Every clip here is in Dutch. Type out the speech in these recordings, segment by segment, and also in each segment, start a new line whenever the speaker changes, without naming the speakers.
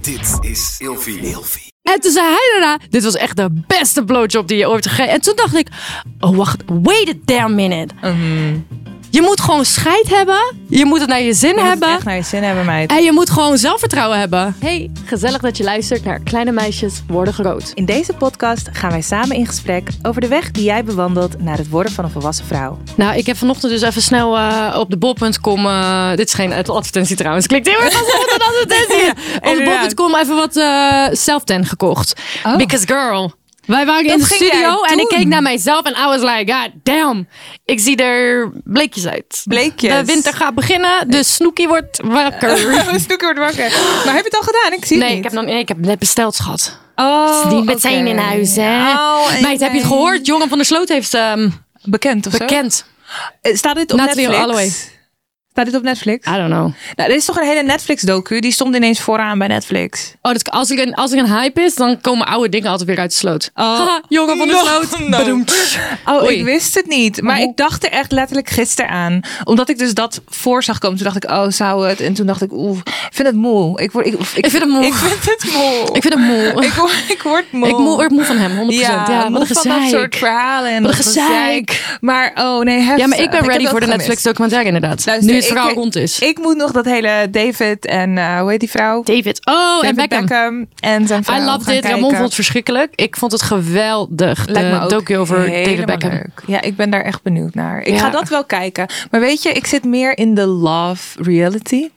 Dit is Ilfie.
En toen zei hij daarna, dit was echt de beste blowjob die je ooit hebt gegeven. En toen dacht ik, oh wacht, wait a damn minute.
Mhm.
Je moet gewoon scheid hebben. Je moet het naar je zin
moet het
hebben.
echt naar je zin hebben, meid.
En je moet gewoon zelfvertrouwen hebben.
Hey, gezellig dat je luistert naar Kleine Meisjes Worden Groot.
In deze podcast gaan wij samen in gesprek over de weg die jij bewandelt naar het worden van een volwassen vrouw.
Nou, ik heb vanochtend dus even snel eh, op de bol.com... eh, dit is geen advertentie trouwens. Klinkt heel erg alsof het een advertentie is. Op de
Inderdaad.
bol.com even wat eh self-tan gekocht. Because girl... Oh. Wij waren in de
ging jij
studio en ik
doen.
keek naar mijzelf en I was like, god damn, ik zie er bleekjes uit.
Bleekjes.
De winter gaat beginnen, dus Snoekie wordt wakker.
Mijn snoeker wordt wakker. Maar heb je het al gedaan? Ik zie het
Nee, ik
niet.
heb, nog, nee, ik heb net besteld, schat.
Oh,
Die
oké.
met zijn in huis, hè?
Oh, en
Meid, heb je het
jij-
gehoord? Jongen van der Sloot heeft ehm
Bekend of zo?
bekend.
Eh, Staat dit op
Natalie Ah.
Netflix?
Holloway.
Staat dit op Netflix?
I don't know.
Nou, er is toch een hele Netflix-docu. Die stond ineens vooraan bij Netflix.
Oh, dat, als, ik een, als ik een hype is, dan komen oude dingen altijd weer uit de sloot. Haha, jongen van der
Oh, no,
Sloot.
no.
Bedoemd.
Nou. Oh,
Oei. Oh.
ik wist het niet. Maar ik dacht er echt letterlijk gisteren aan. Omdat ik dus dat voor zag komen. Toen dacht ik, oh, zou het? En toen dacht ik, oeh, ik vind het moe. Ik, word, ik,
Ik vind het moe.
Ik vind het moe.
Ik vind hem moe.
ik, word, ik word moe.
Ik moe, word moe van hem, 100%. Ja, wat een
moe van dat soort
gezeik.
verhalen. En
Wat een
dat
gezeik.
Maar, oh nee, heftig.
Ja, maar ik ben
heb
ready
dat
voor de
gemist.
Netflix documentaire inderdaad.
Luister,
nu het
ik-
verhaal
ik-
rond is.
Ik moet nog dat hele David en, eh, hoe heet die vrouw?
David. Oh, en
David
Beckham.
En zijn vrouw
I love
gaan
dit. Ramon
kijken.
vond het verschrikkelijk. Ik vond het geweldig.
Lijkt me
de
ook
docu over David
helemaal
Beckham.
leuk. Ja, ik ben daar echt benieuwd naar. Ik
Ja.
ga dat wel kijken. Maar weet je, ik zit meer in de love reality.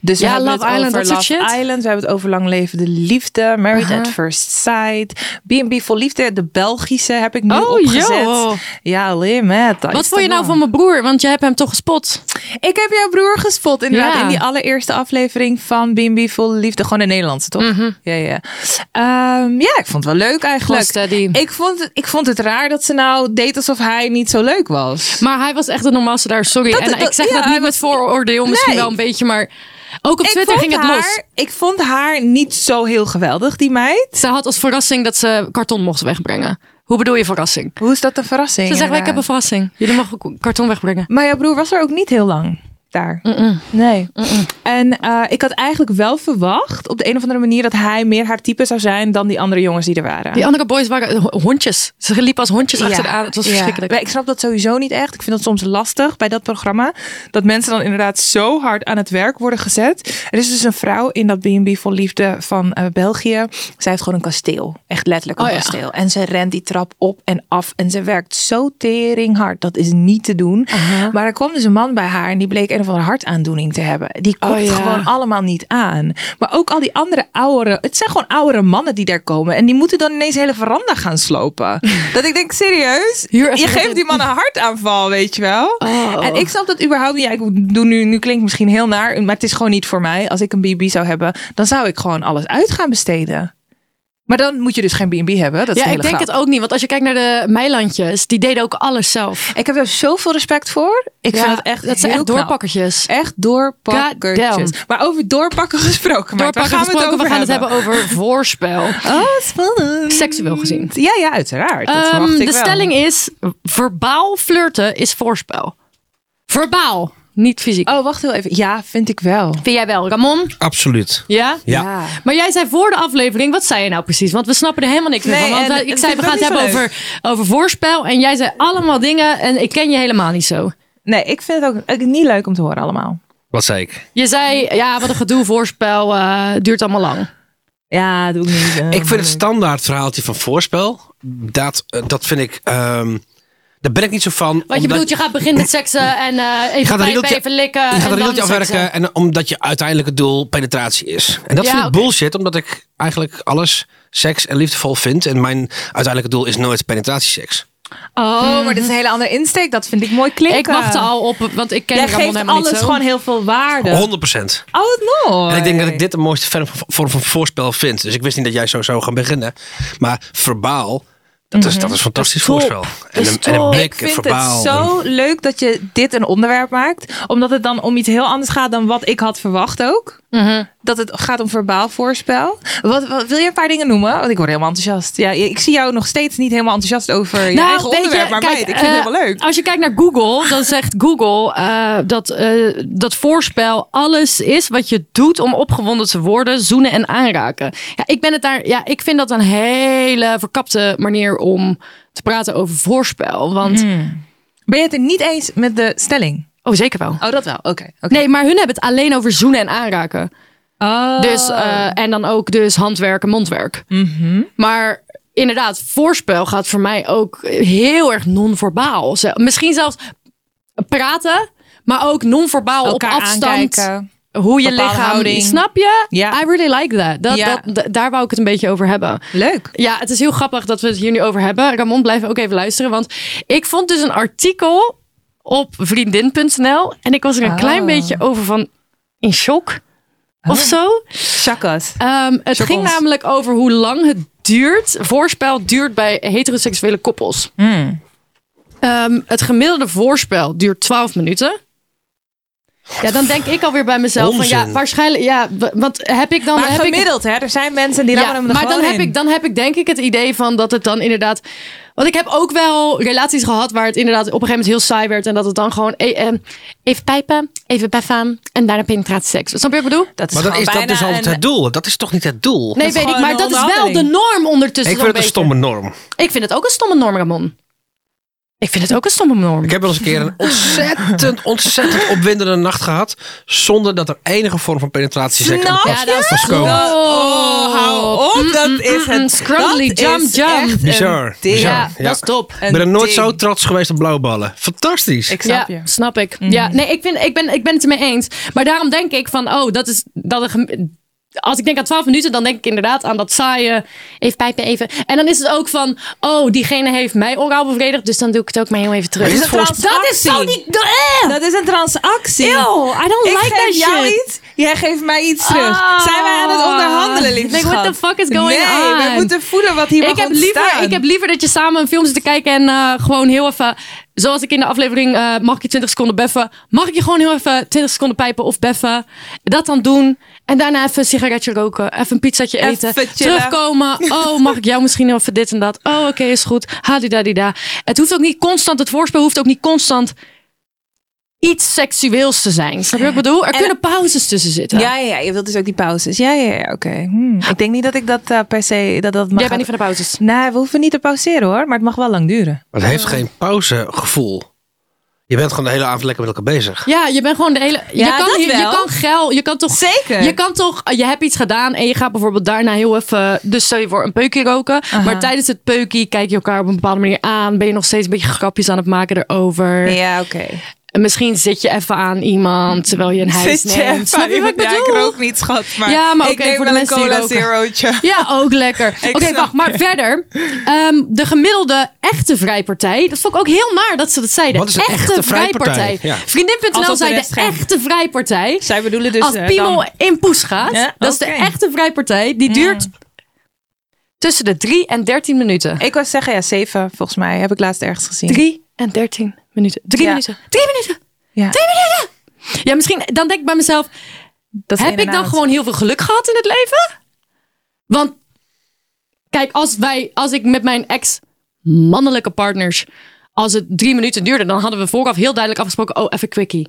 Dus we
Ja,
hebben
Love
het
Island,
over
dat soort
Love
shit.
Island. We hebben het over lang levende liefde. Married at First Sight. B&B voor liefde. De Belgische heb ik nu
Oh,
opgezet.
joh.
Ja, alleen met.
Wat vond je nou van mijn broer? Want jij hebt hem toch gespot?
Ik heb jouw broer gespot inderdaad
Ja.
in die allereerste aflevering van B&B Vol Liefde. Gewoon een Nederlandse, toch?
Mhm.
Ja, ja. Ehm, ja, ik vond het wel leuk eigenlijk.
Gewoon steady.
Ik vond, het, ik vond het raar dat ze nou deed alsof hij niet zo leuk was.
Maar hij was echt de normaalste daar, sorry.
Dat-
en
dat-
ik zeg
ja,
dat
hij
niet met vooroordeel, misschien
Nee.
wel een beetje, maar ook op Twitter
ik vond
ging het
haar,
los.
Ik vond haar niet zo heel geweldig, die meid.
Ze had als verrassing dat ze karton mocht wegbrengen. Hoe bedoel je verrassing?
Hoe is dat een verrassing?
Ze zegt, ik heb een
inderdaad?
verrassing. Jullie mogen k- karton wegbrengen.
Maar jouw broer was er ook niet heel lang daar. Nee. En eh, ik had eigenlijk wel verwacht op de een of andere manier dat hij meer haar type zou zijn dan die andere jongens die er waren.
Die andere boys waren eh, ho- hondjes. Ze liepen als hondjes achter achteraan. Het was
ja.
verschrikkelijk.
Maar Ik snap dat sowieso niet echt. Ik vind dat soms lastig bij dat programma. Dat mensen dan inderdaad zo hard aan het werk worden gezet. Er is dus een vrouw in dat B&B vol liefde van eh, België. Zij heeft gewoon een kasteel. Echt letterlijk een
Oh ja.
kasteel. En ze rent die trap op en af. En ze werkt zo tering hard. Dat is niet te doen. Maar er kwam dus een man bij haar. En die bleek een of andere hartaandoening te hebben. Die komt
Oh, ja.
gewoon allemaal niet aan. Maar ook al die andere oudere. Het zijn gewoon oudere mannen die daar komen. En die moeten dan ineens hele veranda gaan slopen. dat ik denk, serieus?
Hier
je
even Oh,
geeft
dit-
die man een hartaanval, weet je wel. En ik snap dat überhaupt niet. Ja, ik doe nu, nu klinkt misschien heel naar, maar het is gewoon niet voor mij. Als ik een BB zou hebben, dan zou ik gewoon alles uit gaan besteden. Maar dan moet je dus geen BB hebben. Dat is
Ja,
de
ik
hele
denk
grap.
het ook niet. Want als je kijkt naar de Meilandjes, die deden ook alles zelf.
Ik heb daar zoveel respect voor. Ik
Ja,
vind dat echt
dat zijn
heel
echt
knap.
doorpakkertjes.
Echt doorpakkertjes.
Goddamn.
Maar over doorpakken gesproken. Maar
Doorpakken gesproken, we gaan het hebben over voorspel.
Oh, spannend.
Seksueel gezien.
Ja, ja, uiteraard. Dat
Ehm,
verwacht ik
de
wel.
stelling is: verbaal flirten is voorspel. Verbaal, niet fysiek.
Oh, wacht heel even. Ja, vind ik wel.
Vind jij wel, Ramon?
Absoluut.
Ja?
Ja.
Ah.
Maar jij zei voor de aflevering, wat zei je nou precies? Want we snappen er helemaal niks meer
Nee,
van. Want
en
wij- ik
het
zei, we
vind
gaan
ik
het hebben
ook niet zo
over, over voorspel. En jij zei allemaal dingen en ik ken je helemaal niet zo.
Nee, ik vind het ook ook niet leuk om te horen allemaal.
Wat zei ik?
Je zei, ja, wat een gedoe, voorspel, eh, duurt allemaal lang.
Ja, doe ik niet. eh,
ik vind het standaard verhaaltje van voorspel. Dat, eh, dat vind ik. ehm, daar ben ik niet zo van.
Want je
omdat-
bedoelt, je gaat beginnen met seksen en eh, even
gaat een
pijpen,
riedeltje-
even likken.
je gaat
en
een
dan
riedeltje afwerken.
seksen.
En omdat je uiteindelijk het doel penetratie is. En dat
Ja,
vind ik
oké.
bullshit. Omdat ik eigenlijk alles seks en liefdevol vind. En mijn uiteindelijke doel is nooit penetratieseks.
Oh, maar dit is een hele andere insteek. Dat vind ik mooi klinken.
Ik wacht er al op, want ik ken
Jij
Ramon
geeft
helemaal niet
alles
zo.
gewoon heel veel waarde.
100 procent.
Oh, wat mooi.
En ik denk dat ik dit de mooiste vorm van- vorm van voorspel vind. Dus ik wist niet dat jij zo zou gaan beginnen. Maar verbaal, dat is, dat is fantastisch
Mhm. top.
voorspel. En
is
een, en een
top.
blik,
Ik
een
vind
verbaal.
het
een-
zo leuk dat je dit een onderwerp maakt. Omdat het dan om iets heel anders gaat dan wat ik had verwacht ook.
Mhm.
dat het gaat om verbaal voorspel. Wat, wat- wil je een paar dingen noemen? Want ik word helemaal enthousiast. Ja, ik zie jou nog steeds niet helemaal enthousiast over je eigen
Nou, weet je,
onderwerp, maar
kijk,
meid, ik vind
eh,
het helemaal leuk.
Als je kijkt naar Google, dan zegt Google eh, dat, eh, dat voorspel alles is wat je doet om opgewonden te worden, zoenen en aanraken. Ja, ik ben het daar. Ja, ik vind dat een hele verkapte manier om te praten over voorspel. Want
Hmm. Ben je het er niet eens met de stelling?
oh, zeker wel.
Oh, dat wel. Oké. oké.
Nee, maar hun hebben het alleen over zoenen en aanraken.
Oh. Mhm.
Dus, eh, en dan ook dus handwerk en mondwerk. Maar inderdaad, voorspel gaat voor mij ook heel erg non-verbaal. Ze- Misschien zelfs praten, maar ook non-verbaal op
Elkaar
afstand.
aankijken.
Hoe je
Bepaalde
lichaam...
houding.
Snap je?
Ja.
I really like that. Dat,
Ja.
dat, d- daar wou ik het een beetje over hebben.
Leuk.
Ja, het is heel grappig dat we het hier nu over hebben. Ramon, blijf ook even luisteren. Want ik vond dus een artikel op vriendin.nl. En ik was er een
Ah.
klein beetje over van in shock of
Oh.
zo.
Chakkas.
Ehm, het
Chocons.
ging namelijk over hoe lang het duurt. Voorspel duurt bij heteroseksuele koppels.
Hmm.
Ehm, het gemiddelde voorspel duurt 12 minuten. Ja, dan denk ik alweer bij mezelf van ja,
Onzin.
waarschijnlijk ja, w- want heb ik dan
Maar
heb ik
gemiddeld, hè? Er zijn mensen die rammen
ja,
hem er
maar dan
gewoon
heb,
in.
ik, dan heb ik denk ik het idee van dat het dan inderdaad. Want ik heb ook wel relaties gehad waar het inderdaad op een gegeven moment heel saai werd. En dat het dan gewoon eh, eh, even pijpen, even beffen en daarna penetratieseks. Snap je wat ik bedoel?
Dat is
Maar dan
gewoon
is dat
bijna
dus altijd
een-
het doel. Dat is toch niet het doel?
Nee,
is
weet ik.
gewoon
Maar
een
dat is wel de
onderhandeling.
norm ondertussen.
ik vind
zo'n
het een
beetje.
stomme norm.
Ik vind het ook een stomme norm, Ramon. Ik vind het ook een stomme norm.
Ik heb wel eens een keer een ontzettend, ontzettend opwindende nacht gehad. Zonder dat er enige vorm van penetratie Oh, seks aan
Snap
pas-
ja, dat
was
is
komen.
wel-
Oh, hou op.
Mm, mm,
dat is
mm, mm,
het.
scrumbly,
dat
jump,
is
jump.
echt een
Bizar,
ding.
bizar.
ja,
Ja.
dat is top.
Ik ben er nooit
Een
zo
ding.
trots geweest op blauwballen. Fantastisch.
Ik snap
ja,
je. Mm.
snap ik. Ja, nee, ik, vind, ik, ben, ik ben het ermee eens. Maar daarom denk ik van, oh, dat is... Dat een gem- als ik denk aan 12 minuten, dan denk ik inderdaad aan dat saaie... Even pijpen, even... En dan is het ook van, oh, diegene heeft mij oraal bevredigd... dus dan doe ik het ook maar heel even terug.
Is het voor-
Dat is zo niet... Eh!
Dat is een transactie.
Ew, I don't
ik
like that
geef jou
shit.
iets, jij geeft mij iets terug.
Oh.
Zijn wij aan het onderhandelen, liefde
Like, what the fuck is going
nee,
on?
we moeten voelen wat hier
Ik
mag
heb,
ontstaan.
liever, ik heb liever dat je samen een film zit te kijken en eh, gewoon heel even... Zoals ik in de aflevering eh, mag ik je 20 seconden beffen. Mag ik je gewoon heel even 20 seconden pijpen of beffen. Dat dan doen. En daarna even een sigaretje roken. Even een pizzatje
Even
eten.
chillen.
Terugkomen. Oh, mag ik jou misschien heel even dit en dat? Oh, oké, is goed. Hadidadida. Het hoeft ook niet constant, het voorspel hoeft ook niet constant iets seksueels te zijn. Snap je wat ik bedoel? Er
En-
kunnen pauzes tussen zitten.
Ja, ja, ja, je wilt dus ook die pauzes. Ja, ja, ja, oké. Hmm. Ik denk niet dat ik dat eh, per se... Dat, dat mag
Jij bent niet van de pauzes.
Nee, we hoeven niet te pauzeren hoor, maar het mag wel lang duren.
Maar het heeft geen pauzegevoel. Je bent gewoon de hele avond lekker met elkaar bezig.
Ja, je bent gewoon de hele. je,
Ja, dat
kan, je, je
wel.
kan geil. Je kan toch.
Zeker.
Je kan toch. Je hebt iets gedaan en je gaat bijvoorbeeld daarna heel even. Dus stel je voor een peukje roken. Maar tijdens het peukje kijk je elkaar op een bepaalde manier aan. Ben je nog steeds een beetje grapjes aan het maken erover.
Ja, oké.
En misschien zit je even aan iemand terwijl je een huis
Zit je
neemt. Snap je wat ik
Ja, ik
bedoel?
rook niet, schat. Maar,
Ja, maar
ik
oké,
neem
voor de
wel een
mensen die
cola
roken.
zerootje.
Ja, ook lekker.
Ik
Oké,
snap
wacht, maar verder. Ehm, de gemiddelde echte vrijpartij. Dat vond ik ook heel naar dat ze dat zeiden.
Wat is een echte vrijpartij? Ja.
Vriendin.nl
Alsof de
zei de
rest geen-
echte vrijpartij.
Zij bedoelen dus...
als
eh,
piemel
dan-
in poes gaat.
Ja,
dat is de
oké.
echte vrijpartij. Die duurt tussen de 3 en 13 minuten.
Ik wou zeggen, ja, zeven volgens mij. Heb ik laatst ergens gezien.
3 en 13 minuten. 3
Ja.
minuten. 3 minuten.
Ja,
Ja, misschien dan denk ik bij mezelf:
dat is
heb ik dan
inderdaad.
gewoon heel veel geluk gehad in het leven? Want kijk, als, wij, als ik met mijn ex mannelijke partners. Als het drie minuten duurde, dan hadden we vooraf heel duidelijk afgesproken: oh, even quickie.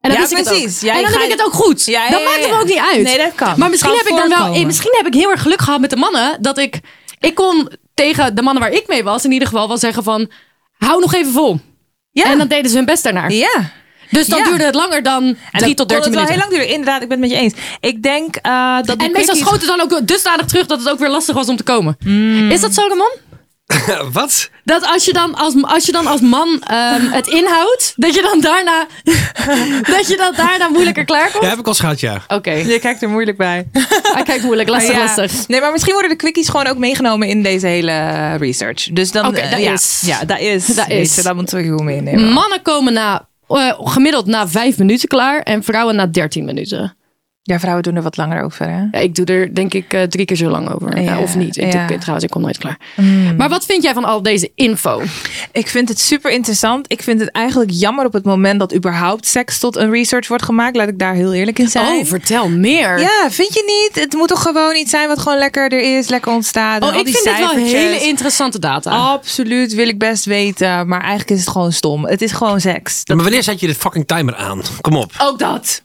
En dan
Ja,
wist ik het ook.
precies. Ja,
en
ik
dan
ga-
heb ik het ook goed.
Ja, ja,
dat
ja,
maakt
ja.
hem ook niet uit.
Nee, dat kan.
Maar misschien
Kan
heb ik dan wel.
voorkomen.
eh, Misschien heb ik heel erg geluk gehad met de mannen. Dat ik. Ik kon tegen de mannen waar ik mee was, in ieder geval wel zeggen van. Hou nog even vol.
Ja.
En dan deden ze hun best daarna.
Ja.
Dus dan
Ja.
duurde het langer dan
En
3 tot
dat kon
13
het wel
minuten.
heel lang duren. Inderdaad, ik ben het met je eens. Ik denk eh, dat die
En meestal
quickies-
schoot het dan ook dusdanig terug dat het ook weer lastig was om te komen. Is dat zo, Ramon?
Wat?
Hmm. Dat als je dan als, als, je dan als man ehm, het inhoudt, dat je dan daarna, dat je dan daarna moeilijker klaarkomt?
Ja, heb ik al eens gehad, ja.
Oké,
Je kijkt er moeilijk bij.
hij kijkt moeilijk, lastig,
Ja.
lastig.
Nee, maar misschien worden de quickies gewoon ook meegenomen in deze hele eh, research. Dus dan...
Oké,
eh,
dat
ja.
is.
Ja, dat is.
Dat
Weet
is. Mm.
je, dat moeten we gewoon meenemen.
Mannen komen na, eh, gemiddeld na 5 minuten klaar en vrouwen na 13 minuten.
Ja, vrouwen doen er wat langer over, hè?
Ja, ik doe er denk ik eh, drie keer zo lang over. Ja, Hmm.
Ja,
of niet. Ik
ja.
doe, trouwens, ik kom nooit klaar. Maar wat vind jij van al deze info?
Ik vind het super interessant. Ik vind het eigenlijk jammer op het moment dat überhaupt seks tot een research wordt gemaakt. Laat ik daar heel eerlijk in zijn.
Oh, vertel meer.
Ja, vind je niet? Het moet toch gewoon iets zijn wat gewoon lekker er is, lekker ontstaat. en
oh,
al
ik
die
vind dit wel
cijfertjes.
hele interessante data.
Absoluut, wil ik best weten. Maar eigenlijk is het gewoon stom. Het is gewoon seks.
Maar wanneer zet je de fucking timer aan? Kom op.
Ook dat.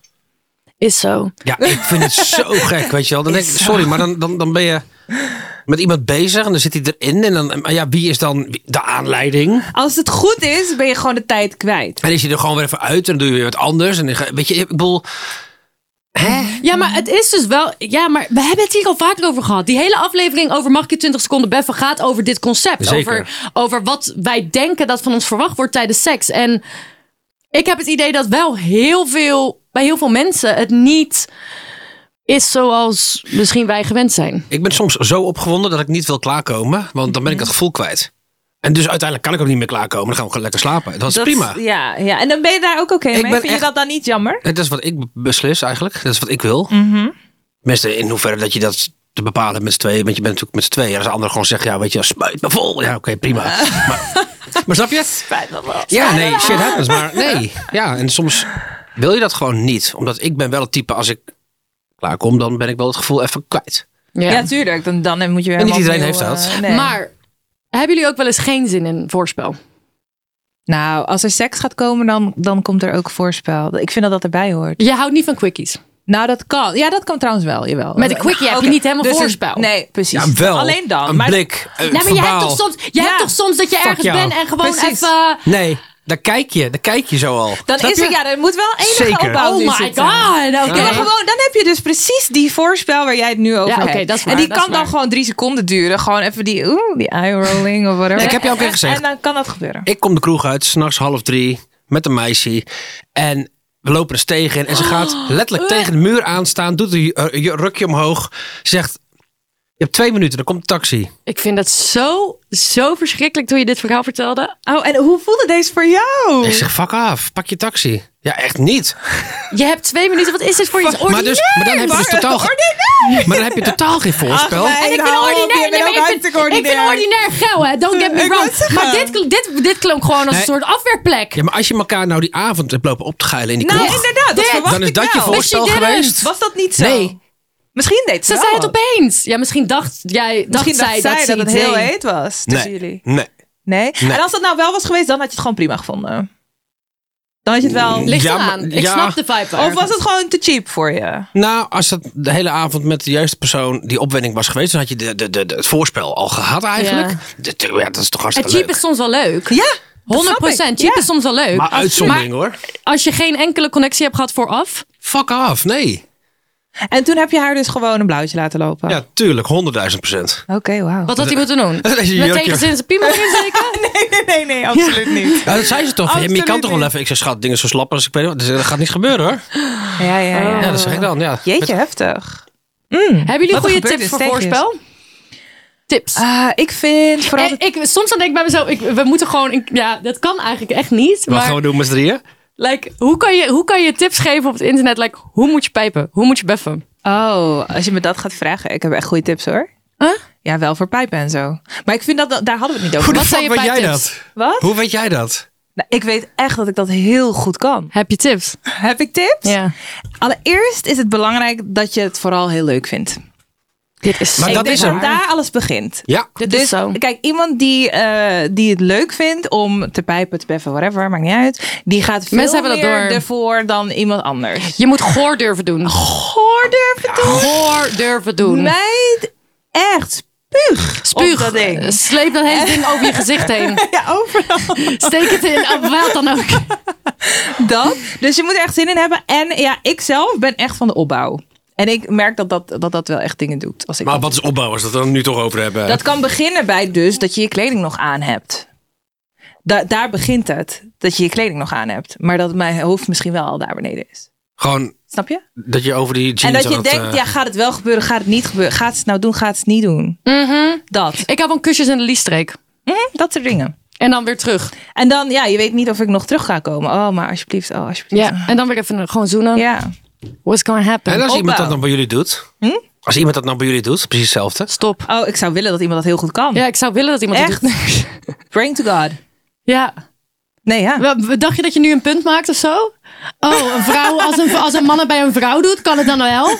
Is zo.
Ja, ik vind het zo gek, weet je wel. Dan denk, ik, sorry, maar dan, dan, dan ben je met iemand bezig en dan zit hij erin. En dan, maar ja, wie is dan de aanleiding?
Als het goed is, ben je gewoon de tijd kwijt.
En is je er gewoon weer even uit en dan doe je weer wat anders. En dan ga- weet je, ik bedoel,
Ja, maar het is dus wel. Ja, maar we hebben het hier al vaker over gehad. Die hele aflevering over Mag ik je 20 seconden beffen gaat over dit concept.
Zeker.
Over, over wat wij denken dat van ons verwacht wordt tijdens seks. En ik heb het idee dat wel heel veel. bij heel veel mensen het niet is zoals misschien wij gewend zijn.
ik ben soms zo opgewonden dat ik niet wil klaarkomen. Want dan ben ik dat gevoel kwijt. En dus uiteindelijk kan ik ook niet meer klaarkomen. Dan gaan we gewoon lekker slapen. Dat is
Dat-
prima.
Ja, ja, en dan ben je daar ook oké
Ik
mee.
ben
Vind je
echt-
dat dan niet jammer?
En dat is wat ik be- beslis eigenlijk. Dat is wat ik wil. Mensen, in hoeverre dat je dat te bepalen met z'n tweeën. Want je bent natuurlijk met z'n tweeën. En als de ander gewoon zegt, ja, weet je, spuit me vol. Ja, oké, prima. Maar, maar snap je?
Spijt me wel.
Ja, nee, shit happens. Maar nee, ja, en soms wil je dat gewoon niet. Omdat ik ben wel het type, als ik klaarkom, dan ben ik wel het gevoel even kwijt.
Ja, tuurlijk. Dan, dan moet je helemaal
iedereen
opnieuw,
heeft dat.
eh, nee.
Maar hebben jullie ook wel eens geen zin in voorspel?
Nou, als er seks gaat komen, dan, dan komt er ook voorspel. Ik vind dat dat erbij hoort.
Je houdt niet van quickies.
Nou, dat kan. Ja, dat kan trouwens wel. Jawel.
Met een quickie heb je niet helemaal
het-
voorspel.
nee, precies.
Ja, wel.
Alleen dan.
Een
maar-
blik, een
Nou, maar je hebt
verbaal.
toch soms, je
Ja.
hebt toch soms dat je ergens
jou.
bent en gewoon
Precies.
even.
Nee, daar kijk je. Daar kijk je zo al.
Dan
Snap
is
je?
er, ja, er moet wel enige
Zeker.
opbouw
Oh
in
my
zitten.
god. Oké.
Ja, maar gewoon, dan heb je dus precies die voorspel waar jij het nu over
Ja,
hebt.
oké, dat is waar,
en die
dat is
kan dan
waar.
gewoon drie seconden duren. Gewoon even die, oeh, die eye rolling of whatever.
Ik heb jou ook
En-
weer gezegd.
En dan kan dat gebeuren.
Ik kom de kroeg uit, s'nachts half drie, met een meisje. En we lopen eens tegen. En ze gaat
Oh. Eh.
letterlijk tegen de muur aanstaan. Doet een ju- eh, ju- rukje omhoog. Zegt, je hebt twee minuten, dan komt de taxi.
Ik vind dat zo, zo verschrikkelijk toen je dit verhaal vertelde.
Oh, en hoe voelde deze voor jou?
Ik zeg, fuck af, pak je taxi. Ja, echt niet.
Je hebt twee minuten. Wat is dit voor iets
Maar, dus, maar dan heb je dus totaal...
Oh,
ge- Maar dan heb je totaal geen voorspel.
En ik ben ordinair. Nee, maar ik, ben, ik ben ordinair geil, hè? Don't get me
Ik wou
wrong.
zeggen.
Maar dit, kl- dit, dit klonk gewoon als
Nee.
een soort afwerkplek.
Ja, maar als je elkaar nou die avond hebt lopen op te geilen in die
Nou,
kroeg...
inderdaad.
Dit-
Dat verwacht
dan is
ik
dat je
wel.
voorstel
Misschien dit
geweest.
Was dat niet zo?
Nee.
Misschien deed
Ze
wel
zei het
wat.
opeens. Ja, misschien dacht jij dacht
Misschien
zij
dacht
dat,
zij
ze
dat het
iets
heel
deed.
heet was tussen jullie.
nee.
Nee?
Nee.
En als dat nou wel was geweest, dan had je het gewoon prima gevonden. Dan had je het wel...
Ligt
Ja,
eraan.
maar-
Ik
ja.
snap de vibe. wel.
Of was het gewoon te cheap voor je?
Nou, als dat de hele avond met de juiste persoon die opwinding was geweest... dan had je de, de, de, de- het voorspel al gehad eigenlijk. De- de- ja, dat is toch
En
hartstikke
cheap
leuk.
is soms wel leuk.
Ja,
100 procent. Cheap is soms wel leuk.
maar uitzondering
Maar
hoor.
als je geen enkele connectie hebt gehad vooraf.
Fuck af, nee.
En toen heb je haar dus gewoon een blauwtje laten lopen.
Ja, tuurlijk, 100.000 procent.
Oké, wauw.
Wat had hij moeten doen?
Dat is een
Met
jurkje.
tegenzin zijn piemel in zeker?
Nee, nee, nee, absoluut niet.
Ja, dat zei ze toch. Ja, maar je
Absoluut
kan toch wel
niet.
even... Ik zei, schat, dingen zo slap als ik weet niet wat. Dus dat gaat niet gebeuren hoor.
Ja, ja, ja.
Ja, dat zeg ik dan, ja.
Jeetje, heftig.
Hebben jullie
Wat er
goede
gebeurt
tips
in
voor
steegjes.
voorspel? Tips.
Ah, ik vind vooral...
Eh, ik, soms dan denk ik bij mezelf, ik, we moeten gewoon... een- ja, dat kan eigenlijk echt niet.
Wat
Maar
gaan we doen met z'n drieën?
like, hoe, kan je, hoe kan je tips geven op het internet? Like, hoe moet je pijpen? Hoe moet je beffen?
Oh, als je me dat gaat vragen, ik heb echt goede tips hoor.
Huh?
Ja, wel voor pijpen en zo. Maar ik vind dat, daar hadden we het niet over.
Hoe de
Wat zijn
fuck
je
weet jij
pijptips?
dat?
Wat?
Hoe weet jij dat?
Nou, ik weet echt dat ik dat heel goed kan.
Heb je tips?
Heb ik tips?
Ja.
Allereerst is het belangrijk dat je het vooral heel leuk vindt.
Dit is
Maar
ik
dat
denk
is
dat
hem.
daar alles begint.
Ja.
Dit
dus
is zo.
kijk, iemand die, eh, die het leuk vindt om te pijpen, te beffen, whatever, maakt niet uit. Die gaat veel
Mensen hebben dat
meer
door.
ervoor dan iemand anders.
Je moet goor durven doen.
Goor durven
Nou.
doen.
Goor durven doen.
Meid, echt spuug.
Spuug.
Op dat
Eh,
ding.
Sleep dat hele ding over je gezicht heen.
Ja, overal.
Steek het in, op wat dan ook.
dat. Dus je moet er echt zin in hebben. En ja, ik zelf ben echt van de opbouw. En ik merk dat dat, dat, dat wel echt dingen doet. Als ik
Maar wat is opbouw als we het er nu toch over hebben?
Dat kan beginnen bij dus dat je je kleding nog aan hebt. Da- daar begint het. Dat je je kleding nog aan hebt. Maar dat mijn hoofd misschien wel al daar beneden is.
Gewoon
Snap je?
dat je over die jeans...
en dat je
aan het,
denkt,
eh,
ja, gaat het wel gebeuren? Gaat het niet gebeuren? Gaat ze het nou doen? Gaat ze het niet doen? Dat.
Ik heb van kusjes in de liesstreek.
Mhm, dat soort dingen.
En dan weer terug.
En dan, ja, je weet niet of ik nog terug ga komen. Oh, maar alsjeblieft. Oh, alsjeblieft.
Ja. En dan weer even gewoon zoenen.
Ja.
What's gonna happen? Oh,
En als iemand dat
Opbouw.
dan bij jullie doet.
Hm?
Als iemand dat nou bij jullie doet, precies hetzelfde.
Stop.
Oh, ik zou willen dat iemand dat heel goed kan.
Ja, ik zou willen dat iemand dat
Echt?
doet.
Praying to God.
Ja.
Nee, ja.
Wa- Dacht je dat je nu een punt maakt of zo? Oh, een vrouw, als een, als een man het bij een vrouw doet, kan het dan wel?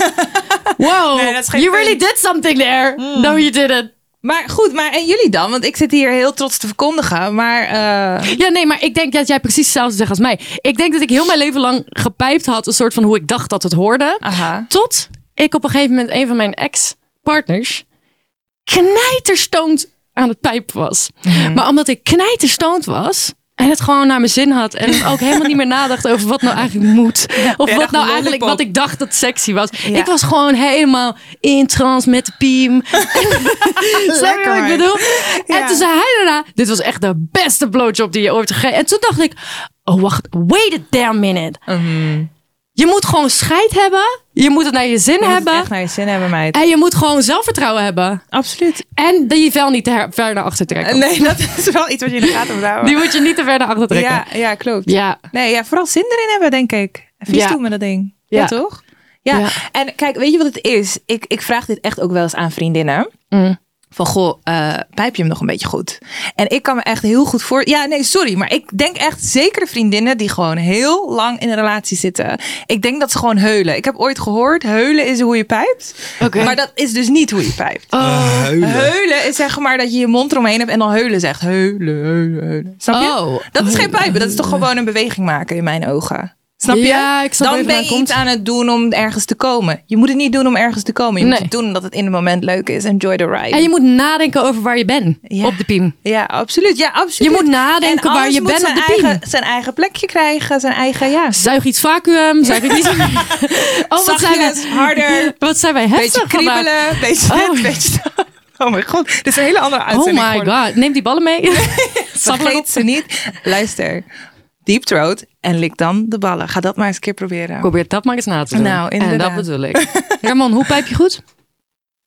Wow,
Nee, dat is geen
you
punt. Hmm.
really did something there. No, you didn't.
Maar goed, maar en jullie dan? Want ik zit hier heel trots te verkondigen. Maar eh,
Ja, nee, maar ik denk dat jij precies hetzelfde zegt als mij. Ik denk dat ik heel mijn leven lang gepijpt had, een soort van hoe ik dacht dat het hoorde.
aha.
Tot ik op een gegeven moment een van mijn ex-partners knijterstoond aan het pijpen was.
Mhm.
Maar omdat ik knijterstoond was en het gewoon naar mijn zin had en ook helemaal niet meer nadacht over wat nou eigenlijk moet. Of
jij
wat
dacht
nou
een
eigenlijk
lollipop.
wat ik dacht dat sexy was.
Ja.
Ik was gewoon helemaal in trance met de piem. Snap je wat ik bedoel? En
Ja.
toen zei hij daarna, dit was echt de beste blowjob die je ooit gegeven. En toen dacht ik, oh wacht, wait a damn minute. Je moet gewoon scheid hebben. Je moet het naar je zin
Je moet het
hebben.
echt naar je zin hebben, meid.
En je moet gewoon zelfvertrouwen hebben.
Absoluut.
En die je vel niet te her- ver naar achter trekken.
Eh, Nee, dat is wel iets wat je in de gaten moet houden.
Die moet je niet te ver naar achter trekken.
Ja, ja, klopt.
Ja.
Nee, ja, vooral zin erin hebben, denk ik. En Vies
Ja.
doen met dat ding. Ja,
Ja.
toch? Ja.
Ja.
en kijk, weet je wat het is? Ik, ik vraag dit echt ook wel eens aan vriendinnen.
Mm.
Van, goh, eh, pijp je hem nog een beetje goed? En ik kan me echt heel goed voor... Ja, nee, sorry, maar ik denk echt zeker vriendinnen die gewoon heel lang in een relatie zitten. Ik denk dat ze gewoon heulen. Ik heb ooit gehoord, heulen is hoe je pijpt.
Oké.
Maar dat is dus niet hoe je pijpt.
Oh.
Heulen is zeg maar dat je je mond eromheen hebt en dan heulen zegt. Heulen, heulen, heulen. Snap je?
Oh.
Dat is geen pijpen. Dat is toch gewoon een beweging maken in mijn ogen. Snap je?
Ja, ik snap
dan
even
ben
waar
je
het
iets
komt.
aan het doen om ergens te komen. Je moet het niet doen om ergens te komen. Je moet
Nee.
het doen omdat het in het moment leuk is. Enjoy the ride.
En je moet nadenken over waar je bent.
Ja.
Op de piem.
Ja, absoluut. Ja, absoluut.
Je moet nadenken
En
waar
alles
je
moet
bent
zijn
op de piem.
eigen, zijn eigen plekje krijgen. Zijn eigen, ja.
Zuig iets vacuüm. Zuig iets... oh, wat zijn,
Zachtjes,
wij...
harder.
wat zijn wij heftig
Beetje
vandaag.
kriebelen. Beetje dit,
Oh.
beetje dat. Oh mijn god. Dit is een hele andere
Oh
uitzending
my
geworden.
god. Neem die ballen mee. Sabbel erop.
Vergeet ze niet. Luister. Deep throat en lik dan de ballen. Ga dat maar eens een keer proberen.
Probeer dat maar eens na te doen.
Nou,
en
inderdaad.
dat bedoel ik. Ramon, hoe pijp je goed?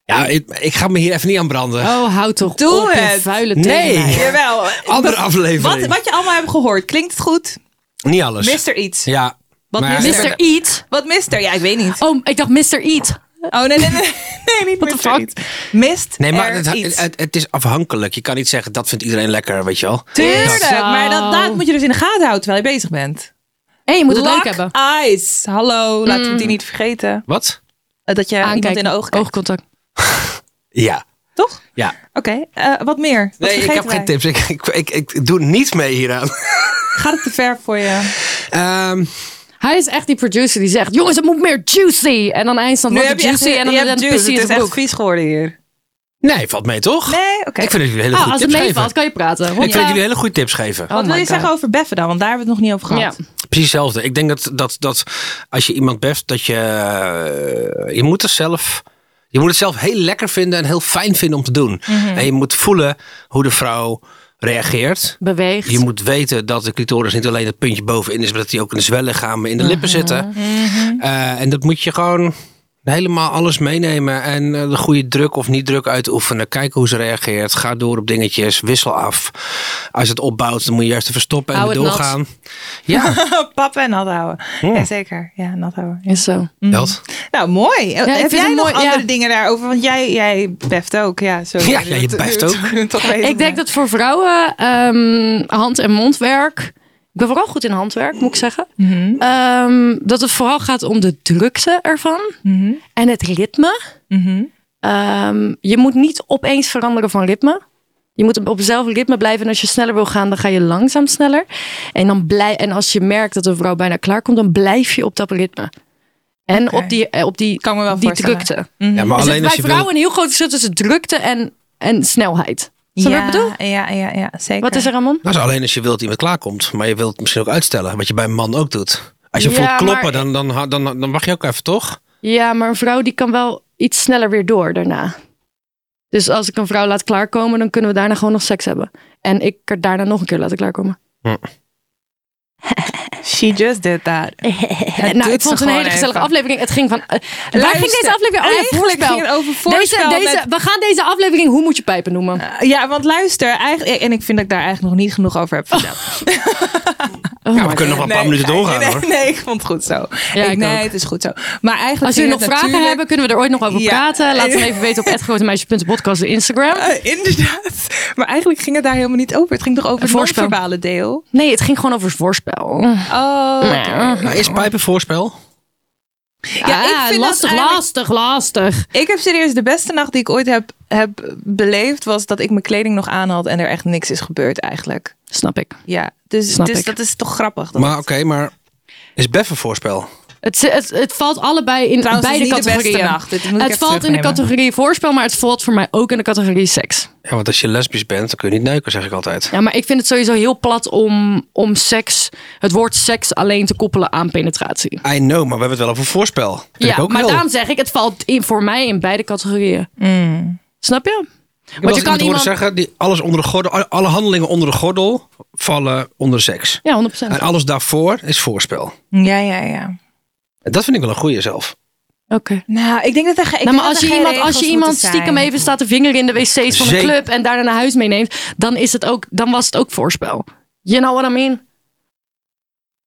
Ja, ik, ik ga me hier even niet aan branden.
Oh, houd toch
Doe
op, je
het.
vuile
Nee.
tering.
Jawel.
Andere
Wat,
aflevering.
wat je allemaal hebt gehoord. Klinkt het goed?
Niet alles.
Mister iets.
Ja.
Wat
maar-
mis-
Mr. Eat.
Wat mister? Ja, ik weet niet.
Oh, ik dacht Mr. Eat.
Oh, nee, nee, nee. Nee, niet
the
mister
fuck?
iets. Mist
Nee, maar
er
het,
iets.
het, het, het is afhankelijk. Je kan niet zeggen, dat vindt iedereen lekker, weet je wel.
Tuurlijk, maar dat, dat
Zo.
moet je dus in de gaten houden terwijl je bezig bent.
Hé, je moet het leuk
Lock
hebben.
eyes. Hallo, laten we die niet vergeten.
Wat?
Eh, Dat je iemand in de ogen kijkt,
Oogcontact.
Ja.
toch?
Ja.
Oké, eh, wat meer? Wat
Nee, ik
vergeten
heb
wij?
geen tips. Ik, ik, ik, ik doe niet mee hieraan.
Gaat het te ver voor je?
Ehm,
Hij is echt die producer die zegt, jongens, het moet meer juicy. En dan eindstand wordt het juicy en dan,
je
dan,
hebt juice.
pist hij in
Het is
zijn
echt
broek.
vies geworden hier.
nee, valt mee toch?
Nee, oké.
Ik vind dat jullie hele
Ah,
goede
als het
tips geven.
meevalt, kan je praten.
Ik vind
Hop.
dat jullie hele goede tips geven.
Wat
Oh
wil
my
je
God.
zeggen over beffen dan? Want daar hebben we het nog niet over
Ja.
gehad.
Precies hetzelfde. Ik denk dat, dat, dat als je iemand beft, dat je... eh, Je moet er zelf... Je moet het zelf heel lekker vinden en heel fijn vinden om te doen.
Mhm.
En je moet voelen hoe de vrouw reageert.
Beweegt.
Je moet weten dat de clitoris niet alleen het puntje bovenin is, maar dat die ook in de zwellichamen in de lippen
Mhm.
zitten. Eh, en dat moet je gewoon helemaal alles meenemen. En eh, de goede druk of niet druk uitoefenen. Kijken hoe ze reageert. Ga door op dingetjes. Wissel af. Als het opbouwt, dan moet je juist even stoppen en
Hou
weer
het nat.
doorgaan. Ja,
Pappen en nat houden. Ja, zeker. Ja, nat houden. Ja.
Is zo.
dat.
Nou, mooi. Heb
vind
jij
het
nog
mooi,
andere
ja.
dingen daarover? Want jij, jij beft ook. Ja, sorry.
Ja, ja, je beft ook.
Ik denk dat voor vrouwen ehm, hand- en mondwerk... Ik ben vooral goed in handwerk, moet ik zeggen.
Mhm.
Ehm, dat het vooral gaat om de drukte ervan.
Mhm.
En het ritme. Ehm, je moet niet opeens veranderen van ritme. Je moet op hetzelfde ritme blijven. En als je sneller wil gaan, dan ga je langzaam sneller. En, dan blij, en als je merkt dat een vrouw bijna klaar komt, dan blijf je op dat ritme. En
Oké.
op die, eh, op die,
Kan me wel
die
voorstellen.
drukte.
Ja, maar
Er zit
alleen
Mm. Dus bij
als je
vrouwen
wil...
een heel groot verschil tussen drukte en, en snelheid. Snap je wat
ja,
ik bedoel?
Ja, ja, ja, zeker.
Wat is er, Ramon?
Dat Nou, is alleen als je wilt dat iemand klaarkomt. Maar je wilt het misschien ook uitstellen. Wat je bij een man ook doet. Als je
Ja,
voelt kloppen,
maar-
dan, dan, dan, dan, dan mag je ook even, toch?
Ja, maar een vrouw die kan wel iets sneller weer door daarna. Dus als ik een vrouw laat klaarkomen, dan kunnen we daarna gewoon nog seks hebben. En ik er daarna nog een keer laten klaarkomen.
She just did that. Het
nou, ik
doet ze
vond het een
hele
hele gezellige
even.
aflevering. Het ging van. eh, waar ging deze aflevering? Oh, ja,
eigenlijk
voorspel.
ging het over voorspel
Deze, deze,
met-
We gaan deze aflevering Hoe moet je pijpen noemen?
Eh, Ja, want luister, eigenlijk, en ik vind dat ik daar eigenlijk nog niet genoeg over heb verteld.
Oh
Ja,
my
we kunnen nog wel een paar minuten doorgaan
nee,
hoor.
Nee, nee, ik vond het goed zo.
Ja, ik
nee,
ook.
het is goed zo. Maar eigenlijk
Als jullie nog
ging het
vragen
natuurlijk-
hebben, kunnen we er ooit nog over
Ja.
praten. Laat het even weten op @grotemeisje.podcast op Instagram.
Eh, inderdaad. Maar eigenlijk ging het daar helemaal niet over. Het ging toch over het
Voorspel.
non-verbale deel.
Nee, het ging gewoon over het voorspel.
Oh,
Ja,
Maar Nou, is pijpen voorspel?
Ja, ik vind dat
lastig,
eigenlijk-
lastig, lastig.
Ik heb serieus de beste nacht die ik ooit heb, heb beleefd, was dat ik mijn kleding nog aan had en er echt niks is gebeurd eigenlijk.
Snap ik.
Ja, dus,
Snap
dus
ik.
dat is toch grappig. Dat
Maar oké, maar is beffen voorspel?
Het, het, het valt allebei in
Trouwens, het
beide
is niet de beste
categorieën.
nacht. Dit moet ik
het
even
valt in de
terugnemen.
categorie voorspel, maar het valt voor mij ook in de categorie seks.
Ja, want als je lesbisch bent, dan kun je niet neuken, zeg ik altijd.
Ja, maar ik vind het sowieso heel plat om, om seks, het woord seks alleen te koppelen aan penetratie.
I know, maar we hebben het wel over voorspel. Dat vind
Ja,
ik ook
maar
heel.
daarom zeg ik, het valt in, voor mij in beide categorieën.
Mm.
Snap je?
Want
Want je kan
iemand
iemand...
horen zeggen, die alles onder de gordel, alle- alle handelingen onder de gordel vallen onder seks.
Ja, 100%.
En
Oké.
alles daarvoor is voorspel.
Ja, ja, ja.
En dat vind ik wel een goede zelf. Ah.
Nou, ik denk dat er ge-
Nou,
ik denk
maar
dat
als
er
je
geen
iemand, als je
regels
iemand
moeten
stiekem
zijn.
even staat te vinger in de wc's van een
Zeker.
club en daarna naar huis meeneemt, dan, is het ook, dan was het ook voorspel. You know what I mean?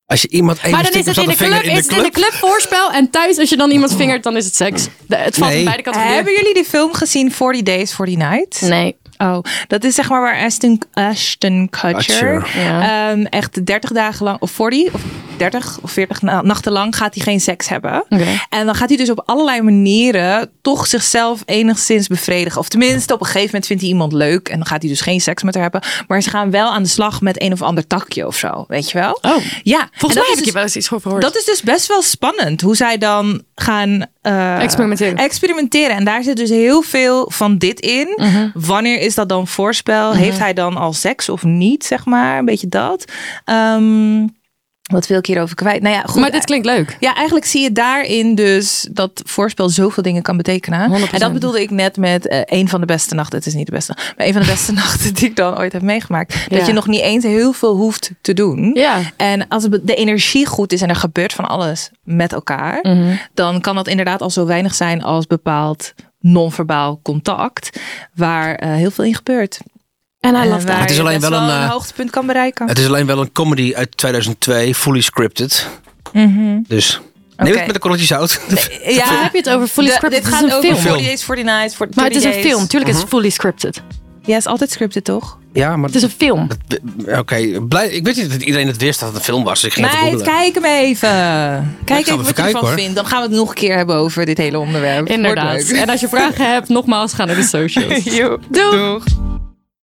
Als je iemand even
maar dan is
stiekem
het in
zat
de
een
club,
vinger in
is
de
het in de
club...
club voorspel en thuis als je dan iemand vingert, dan is het seks. De- het valt
Nee.
in beide categorieën.
Hebben jullie die film gezien 40 Days, 40 Nights?
Nee.
Oh, dat is zeg maar waar Ashton, Ashton Kutcher
Kutcher.
Ja.
ehm, echt 30 dagen lang, of 40, of 30 of 40 na- nachten lang gaat hij geen seks hebben.
Oké.
En dan gaat hij dus op allerlei manieren toch zichzelf enigszins bevredigen. Of tenminste, op een gegeven moment vindt hij iemand leuk en dan gaat hij dus geen seks met haar hebben. Maar ze gaan wel aan de slag met een of ander takje of zo, weet je wel?
Oh.
ja. En dat
Volgens mij
is
heb
dus-
ik je wel eens iets over gehoord.
dat is dus best wel spannend hoe zij dan gaan eh,
Experimenteren.
experimenteren. En daar zit dus heel veel van dit in.
Mhm.
Wanneer is dat dan voorspel? Heeft hij dan al seks of niet, zeg maar? Een beetje dat. Ehm, wat wil ik hierover kwijt? Nou ja, goed.
maar dit klinkt leuk.
Ja, eigenlijk zie je daarin dus dat voorspel zoveel dingen kan betekenen.
100%.
En dat bedoelde ik net met eh, een van de beste nachten. Het is niet de beste, maar een van de beste nachten die ik dan ooit heb meegemaakt. Dat
Ja.
je nog niet eens heel veel hoeft te doen.
Ja.
En als het be- de energie goed is en er gebeurt van alles met elkaar,
Mhm.
dan kan dat inderdaad al zo weinig zijn als bepaald non-verbaal contact, waar eh, heel veel in gebeurt.
En hij
En
lacht
waar
Het is
je
alleen
best
wel een, eh,
hoogtepunt kan bereiken.
Het is alleen wel een comedy uit 2002, fully scripted. Dus neem
Oké.
het met een korreltje zout.
Waar heb je het over? Fully
De-
scripted.
dit
Het is
gaat
een
over
film.
40 days, 40 nights, 40
Maar het is een
days.
film. Tuurlijk is
Mhm.
het fully scripted.
Ja, is altijd scripted, toch?
ja, maar...
Het is een film.
dat- Oké, blij- ik weet niet dat iedereen het wist dat het een film was. Dus ik ging even
Meid,
googelen.
kijk hem even. Kijk
ga
even
hem even
wat je
kijken,
ervan
hoor.
vindt. Dan gaan we het nog een keer hebben over dit hele onderwerp. Wordt
Inderdaad.
leuk.
En als je vragen hebt, nogmaals, ga naar de socials.
Joe.
Doeg.
Doeg.